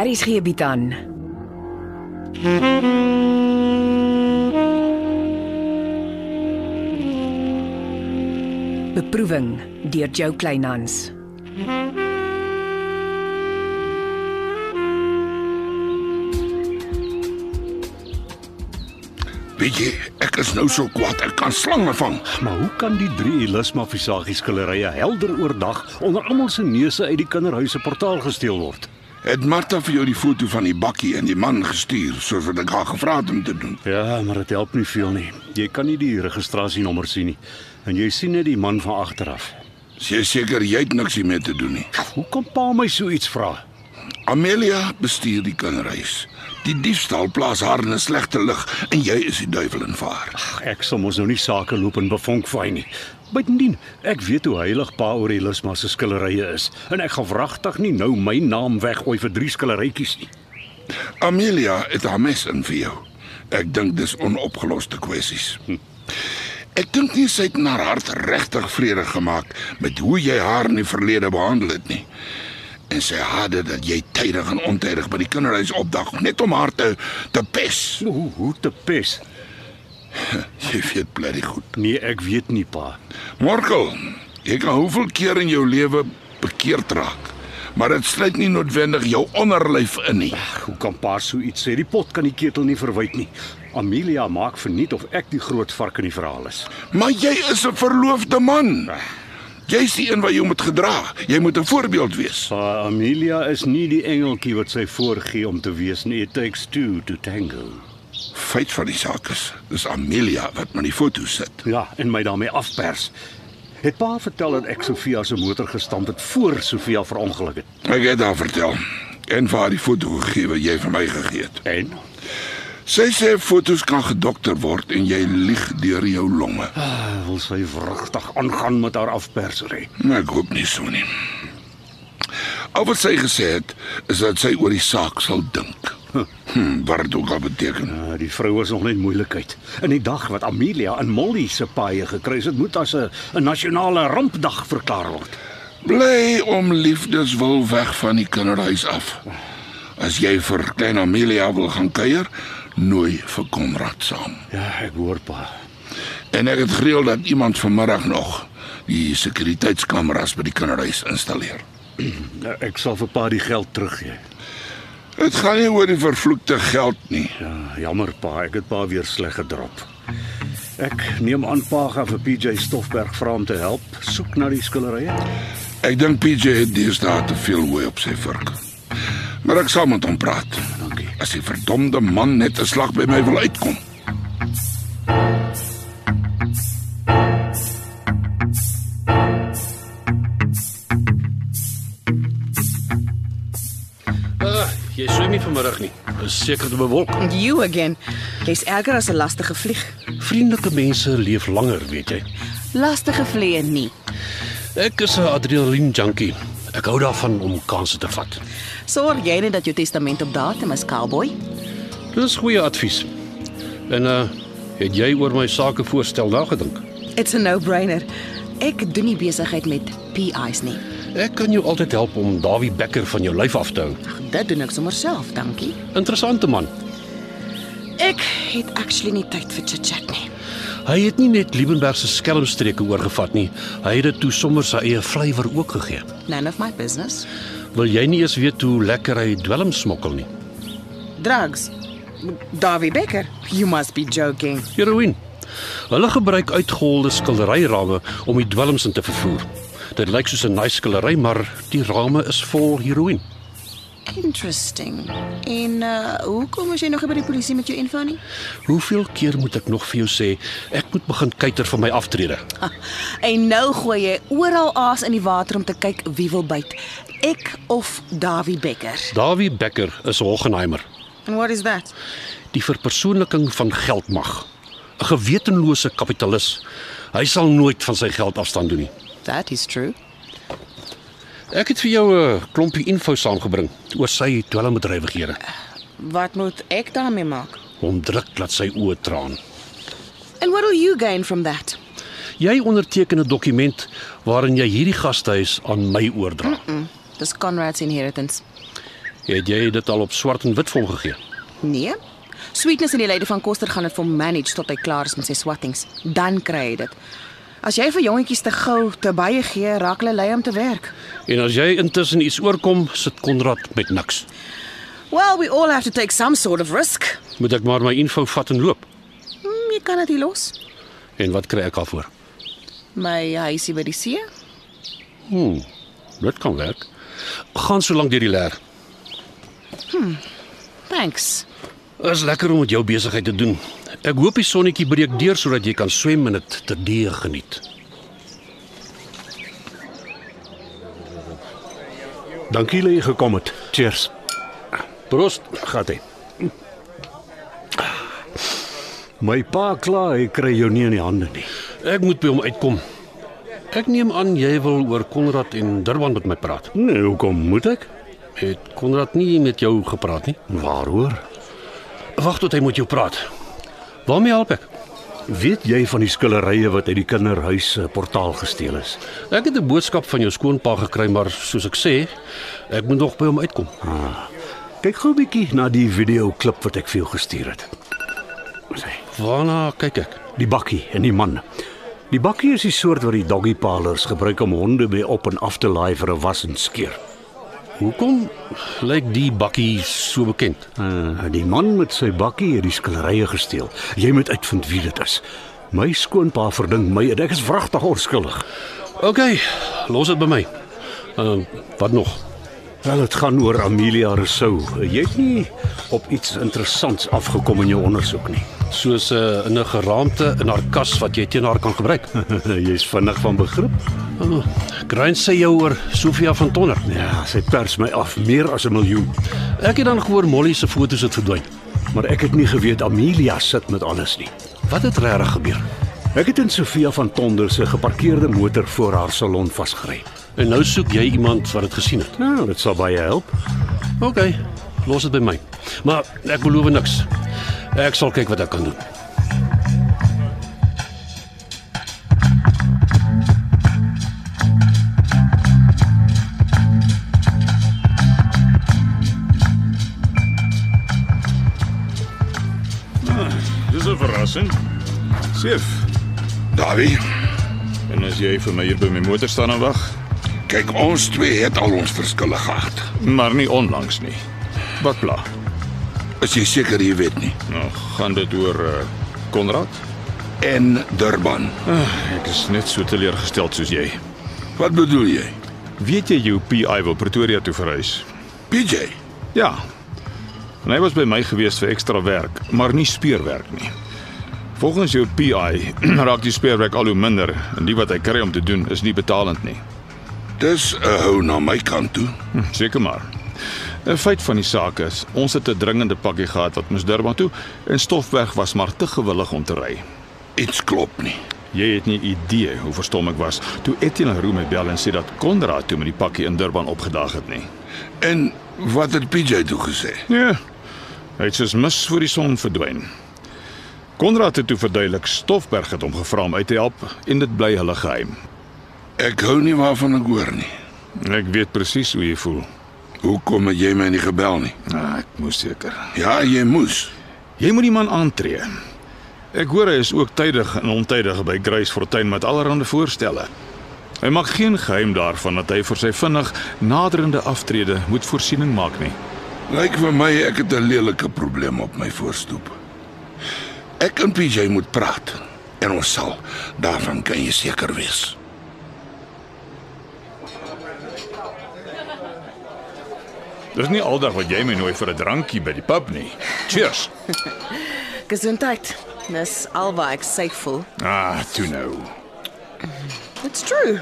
Aries gee bied aan. Beproeving deur Jo Kleinhans. Weet jy, ek is nou so kwaad, ek kan slange vang. Maar hoe kan die drie Elisma visagie skillerye helder oordag onder almal se neuse uit die kinderhuis se portaal gesteel word? Het Martha vir jou die foto van die bakkie en die man gestuur soos wat ek haar gevra het om te doen? Ja, maar dit help nie veel nie. Jy kan nie die registrasienommer sien nie en jy sien net die man van agteraf. Sy is seker jy het niks hiermee te doen nie. Hoe kom pa my so iets vra? Amelia bestuur die kinderhuis. Die diefstal plaas haar in 'n slegte lig en jy is die duiwel in vaar. Ag, Ek sal mos nou nie sake loop en bevonk vaai nie. Buitendien, ek weet hoe heilig pa oor Elisma se skillerye is en ek gaan wragtig nie nou my naam weggooi vir drie skillerytjies nie. Amelia het haar mes in vir jou. Ek dink dis onopgeloste kwessies. Ek dink nie sy het na haar hart regtig vrede gemaak met hoe jy haar in die verlede behandel het nie. En sy haat dat jy tydig en ontydig by die kinderhuis opdag net om haar te te pes. Hoe hoe te pes? Jy weet bloody goed. Nee, ek weet nie pa. Morkel, jy kan hoeveel keer in jou lewe bekeerd raak, maar dit sluit nie noodwendig jou onderlyf in nie. Ag, Hoe kan pa so iets sê? Die pot kan die ketel nie verwyd nie. Amelia maak verniet of ek die groot vark in die verhaal is. Maar jy is 'n verloofde man. Jy's die een wat jou moet gedra. Jy moet 'n voorbeeld wees. Pa, Amelia is nie die engeltjie wat sy voorgee om te wees nie. It takes two to tango. Feit van die saak is, dis Amelia wat met die foto sit. Ja, en my daarmee afpers. Het pa vertel dat ek Sofia se motor gestamp het voor Sofia verongeluk het. Ek het haar vertel en vir haar die foto gegee wat jy vir my gegee het. En Sy sê fotos kan gedokter word en jy lieg deur jou longe. ah, wil sy wragtig aangaan met haar afpersery. Nee, ek hoop nie so nie. Al wat sy gesê het, is dat sy oor die saak sal dink. Hm, wat dit ook al beteken. Uh, die vrou is nog net moeilikheid. In die dag wat Amelia en Molly se paaie gekruis het, moet as 'n 'n nasionale rampdag verklaar word. Bly om liefdes wil weg van die kinderhuis af. As jy vir klein Amelia wil gaan kuier, nooi vir Konrad saam. Ja, ek hoor pa. En ek het gereël dat iemand vanmiddag nog die sekuriteitskameras by die kinderhuis installeer. Ja, Ek sal vir pa die geld teruggee. Dit gaan nie oor die vervloekte geld nie. Ja, jammer pa, ek het pa weer sleg gedrop. Ek neem aan pa gaan vir PJ Stoffberg vra om te help soek na die skillerye. Ek dink PJ het deesdae te veel hooi op sy vurk. Maar ek sal met hom praat. Dankie. As die verdomde man net 'n slag by my wil uitkom. Uh, jy swem nie vanmiddag nie. Is seker te bewolk. You again. Jy's erger as 'n lastige vlieg. Vriendelike mense leef langer, weet jy. Lastige vliee nie. Ek is 'n adrenalien junkie. Ek hou daarvan om kansse te vat. Sorg jy net dat jou testament op datum is, cowboy? Dis goeie advies. En uh het jy oor my sake voorstel nagedink? It's a no-brainer. Ek doen nie besigheid met PI's nie. Ek kan jou altyd help om Dawie Becker van jou lyf af te hou. Ag, dit doen ek sommer self, dankie. Interessante man. Ek het actually nie tyd vir chit-chat nie. Hy het nie net Liebenberg se skelmstreke oorgevat nie. Hy het dit toe sommer sy eie vleiwer ook gegee. None of my business. Wil jy nie eens weet hoe lekker hy dwelm smokkel nie? Drugs. Davie Becker, you must be joking. Heroïne. Hulle gebruik uitgeholde skilderyrame om die dwelms in te vervoer. Dit lyk soos 'n nice skildery, maar die rame is vol heroïne. Interesting. En uh hoekom is jy nog nie by die polisie met jou info nie? Hoeveel keer moet ek nog vir jou sê ek moet begin kyker vir my aftrede? Ha, en nou gooi jy oral aas in die water om te kyk wie wil byt. Ek of Davie Becker. Dawie Becker is 'n Hochenheimer, And what is that? die verpersoonliking van geldmag. 'n Gewetenlose kapitalis. Hy sal nooit van sy geld afstand doen nie. That is true. Ek het vir jou 'n klompie info saamgebring oor sy dwelmbedrywighede. Wat moet ek daarmee maak? Hom druk laat sy oë traan. And what will you gain from that? Jy onderteken 'n dokument waarin jy hierdie gastehuis aan my oordra. Dis Conrad's inheritance. Het jy dit al op swart en wit volgegee? Nee. Sweetness en die lady van Koster gaan dit vir hom manage tot hy klaar is met sy swattings. Dan kry hy dit. As jy vir jongetjies te gou te baie gee, raak hulle lei om te werk. En as jy intussen iets oorkom, sit Konrad met niks. Well, we all have to take some sort of risk. Moet ek maar my info vat en loop. Hmm, jy kan dit hier los. En wat kry ek daarvoor? My huisie by die see. Dit kan werk. Gaan so lank deur die leer. Thanks. Is lekker om met jou besigheid te doen. Ek hoop die sonnetjie breek deur sodat jy kan swem en dit te deeg geniet. Dankie dat jy gekom het. Cheers. Prost. Gat hy. My pa kla, hy kry jou nie in die hande nie. Ek moet by hom uitkom. Ek neem aan jy wil oor Konrad en Durban met my praat. Nee, hoekom moet ek? Het Konrad nie met jou gepraat nie? Waaroor? Wag tot hy met jou praat. Waarmee help ek? Weet jy van die skillerye wat uit die kinderhuis se portaal gesteel is? Ek het 'n boodskap van jou skoonpa gekry, maar soos ek sê, ek moet nog by hom uitkom. Kyk gou 'n bietjie na die videoklip wat ek vir jou gestuur het. Sê, Waarna kyk ek? die bakkie en die man. Die bakkie is die soort wat die doggy parlors gebruik om honde mee op en af te laai vir 'n was en skeer. Hoekom lyk die bakkie so bekend? Uh, die man met sy bakkie het die skillerye gesteel. Jy moet uitvind wie dit is. My skoonpa verdink my en ek is wragtig onskuldig. OK, los dit by my. Ehm uh, wat nog? Wel, dit gaan oor Amelia Rousseau. Jy het nie op iets interessants afgekom in jou ondersoek nie. Soos 'n uh, in 'n geraamte in haar kas wat jy teen haar kan gebruik. Jy's vinnig van begrip. Uh, Grind sê jou oor Sofia van Tonner. Ja, sy pers my af meer as 'n miljoen. Ek het dan gehoor Molly se foto's het verdwyn. Maar ek het nie geweet Amelia sit met alles nie. Wat het regtig gebeur? Ek het in Sofia van Tonder se geparkeerde motor voor haar salon vasgery. En nou soek jy iemand wat dit gesien het. Nou, dit sal baie help. OK, los dit by my. Maar ek beloof niks. Ek sal kyk wat ek kan doen. Dis 'n verrassing. Seef, Dawie, en as jy vir my hier by my motor staan en wag, kyk ons twee het al ons verskille gehad. maar nie onlangs nie. Wat pla? Is jy seker jy weet nie? Nou, gaan dit oor eh, Konrad? En Durban. ek is net so teleurgesteld soos jy. Wat bedoel jy? Weet jy jou PI wil Pretoria toe verhuis? PJ, Ja. En hy was by my gewees vir ekstra werk, maar nie speurwerk nie. Volgens jou PI raak die speurwerk al hoe minder en die wat hy kry om te doen is nie betalend nie. dis 'n hou na my kant toe. Hm, Seker maar. 'n Feit van die saak is, ons het 'n dringende pakkie gehad wat moes Durban toe en Stofweg was maar te gewillig om te ry. Iets klop nie. Jy het nie idee hoe verstom ek was toe Etienne Roux my bel en sê dat Konrad toe met die pakkie in Durban opgedaag het nie. En wat het PJ toe gesê? Nee. Hy het soos mis voor die son verdwyn. Konrad het toe verduidelik Stofberg het hom gevra om uit te help en dit bly hulle geheim. Ek hou nie waarvan ek hoor nie. Ek weet presies hoe jy voel. Hoekom het jy my nie gebel nie? Ah, ek moes seker. Ja, jy moes. Jy moet die man aantree. Ek hoor hy is ook tydig en ontydig by Grace Fortuin met allerlei voorstelle. Hy maak geen geheim daarvan dat hy vir sy vinnig naderende aftrede moet voorsiening maak nie. Lyk vir my ek het 'n lelike probleem op my voorstoep. Ek en PJ moet praat en ons sal. Daarvan kan jy seker wees. Dis nie aldag wat jy my nooi vir 'n drankie by die pub nie. Cheers. Gesondheid. Dis al wat ek sê voel. Ah, toe nou. It's true.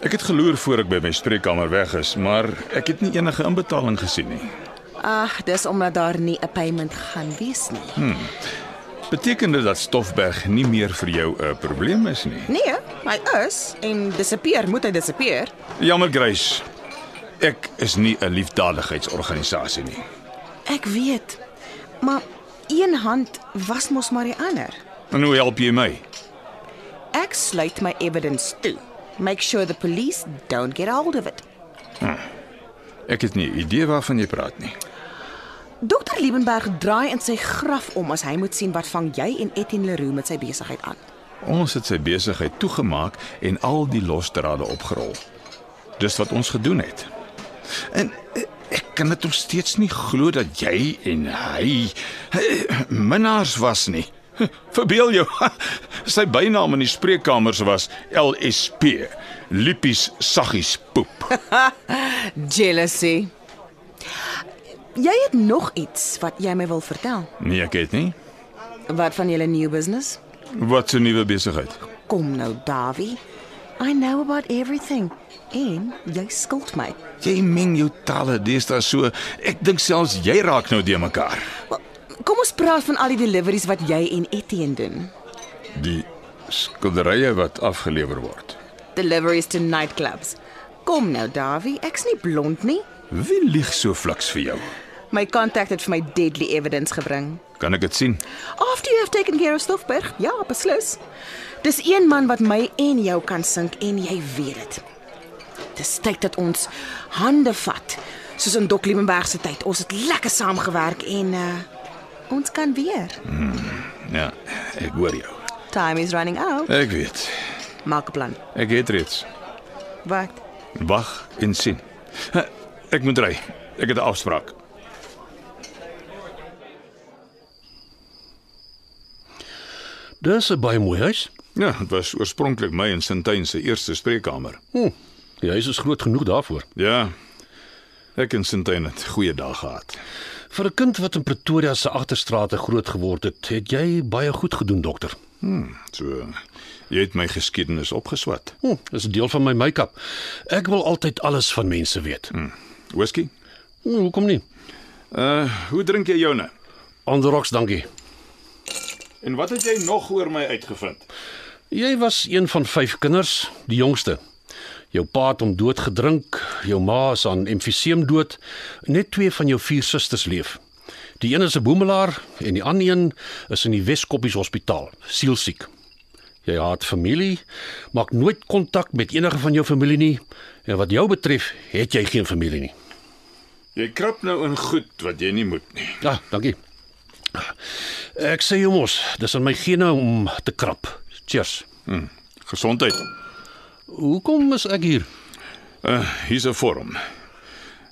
Ek het geloer voor ek by my spreekkamer weg is, maar ek het nie enige inbetaling gesien nie. Ag, Ah, dis omdat daar nie 'n payment gaan wees nie. Beteken dit dat Stofberg nie meer vir jou 'n probleem is nie? Nee, hy is en disappear moet hy disappear. Jammer Grace. Ek is nie 'n liefdadigheidsorganisasie nie. Ek weet. Maar een hand was mos maar die ander. En hoe help jy my? Ek sluit my evidence toe. Make sure the police don't get hold of it. Ek het nie 'n idee waarvan jy praat nie. Dokter Liebenberg draai in sy graf om as hy moet sien wat vang jy en Etienne Leroux met sy besigheid aan. Ons het sy besigheid toegemaak en al die losdrade opgerol. Dis wat ons gedoen het. En eh, ek kan dit nog steeds nie glo dat jy en hy eh, minnaars was nie. Verbeel jou, sy bynaam in die spreekkamers was LSP, Lippies Saggies Poep. Jealousy. Jy het nog iets wat jy my wil vertel. Nee, ek het nie. Wat van julle nuwe business? Wat 'n nuwe besigheid. Kom nou, Davie. I know about everything. En jy skuld my. Jy meng jou talle, dis daar so. Ek dink selfs jy raak nou de mekaar. Wel, Kom ons praat van al die deliveries wat jy en Etienne doen. Die skilderye wat afgelewer word. Deliveries to nightclubs. Kom nou, Davie, ek's nie blond nie. Wie lieg so fliks vir jou? My kontak het vir my deadly evidence gebring. Kan ek dit sien? After you have taken care of Stoffberg? Ja, beslis. Dis een man wat my en jou kan sink en jy weet dit. Dis tyd dat ons hande vat, soos in Dok Liebenberg se tyd. Ons het lekker saamgewerk en uh ons kan weer. Ja, ek hoor jou. Time is running out. Ek weet. Maak 'n plan. Ek het reeds. Wat? Wag en sien. Ha, Ek moet ry. Ek het 'n afspraak. Dis 'n baie mooi huis. Ja, dit was oorspronklik my en Sintyn se eerste spreekkamer. Hm. Die huis is groot genoeg daarvoor. Ja. Ek en Sintyn het goeie dae gehad. Vir 'n kind wat in Pretoria se agterstrate groot geword het, het jy baie goed gedoen, dokter. So jy het my geskiedenis opgeswat. Hm, dis 'n deel van my make-up. Ek wil altyd alles van mense weet. Hm. Whisky? Hoekom nie? Uh, hoe drink jy joune? Anderoks, dankie. En wat het jy nog oor my uitgevind? Jy was een van vyf kinders, die jongste. Jou pa het hom dood gedrink, jou ma is aan emfiseem dood. Net twee van jou vier susters leef. Die een is 'n boemelaar en die ander een is in die Weskoppies Hospitaal, sielsiek. Jy haat familie, maak nooit kontak met enige van jou familie nie en wat jou betref, het jy geen familie nie. Jy krap nou in goed wat jy nie moet nie. Ja, dankie. Ek sê jou mos, dis in my gene om te krap. Cheers. Gesondheid. Hoekom is ek hier? Uh, hier's 'n vorm.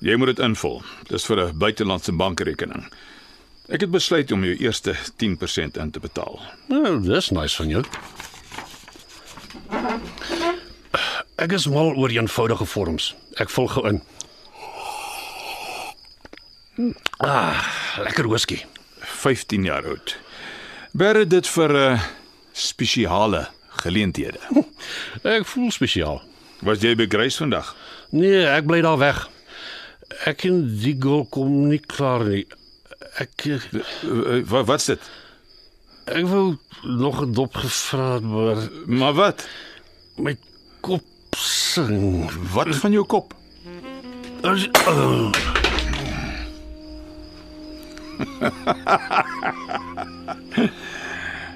Jy moet dit invul. Dis vir 'n buitelandse bankrekening. Ek het besluit om jou eerste 10% in te betaal. Nou, dis nice van jou. Ek is mal oor eenvoudige vorms. Ek vul gou in. Ah, lekker whisky. 15 jaar oud. Bere dit vir 'n uh, spesiale geleenthede. Ek voel spesiaal. Was jy by Grace vandag? Nee, ek bly daar weg. Ek en die girl kom nie klaar nie. Ek Uh, uh, wat's dit? ek wou nog 'n dop gevra het, maar Maar wat? my kop sing. Wat van jou kop? As- oh,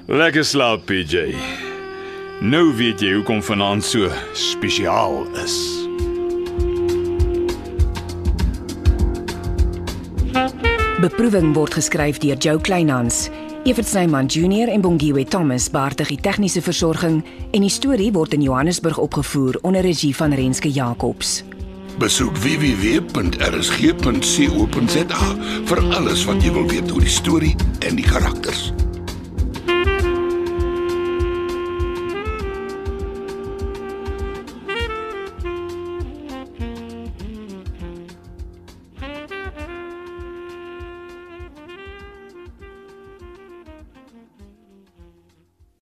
Lekker slaap, PJ. Nou weet jy hoekom vanaand so spesiaal is. Beproeving word geskryf deur Jo Kleinhans. Evert Snyman Junior en Bongwe Thomas baartig die tegniese versorging en die storie word in Johannesburg opgevoer onder regie van Renske Jacobs. Besoek www.rsg.co.za vir alles wat jy wil weet oor die storie en die karakters.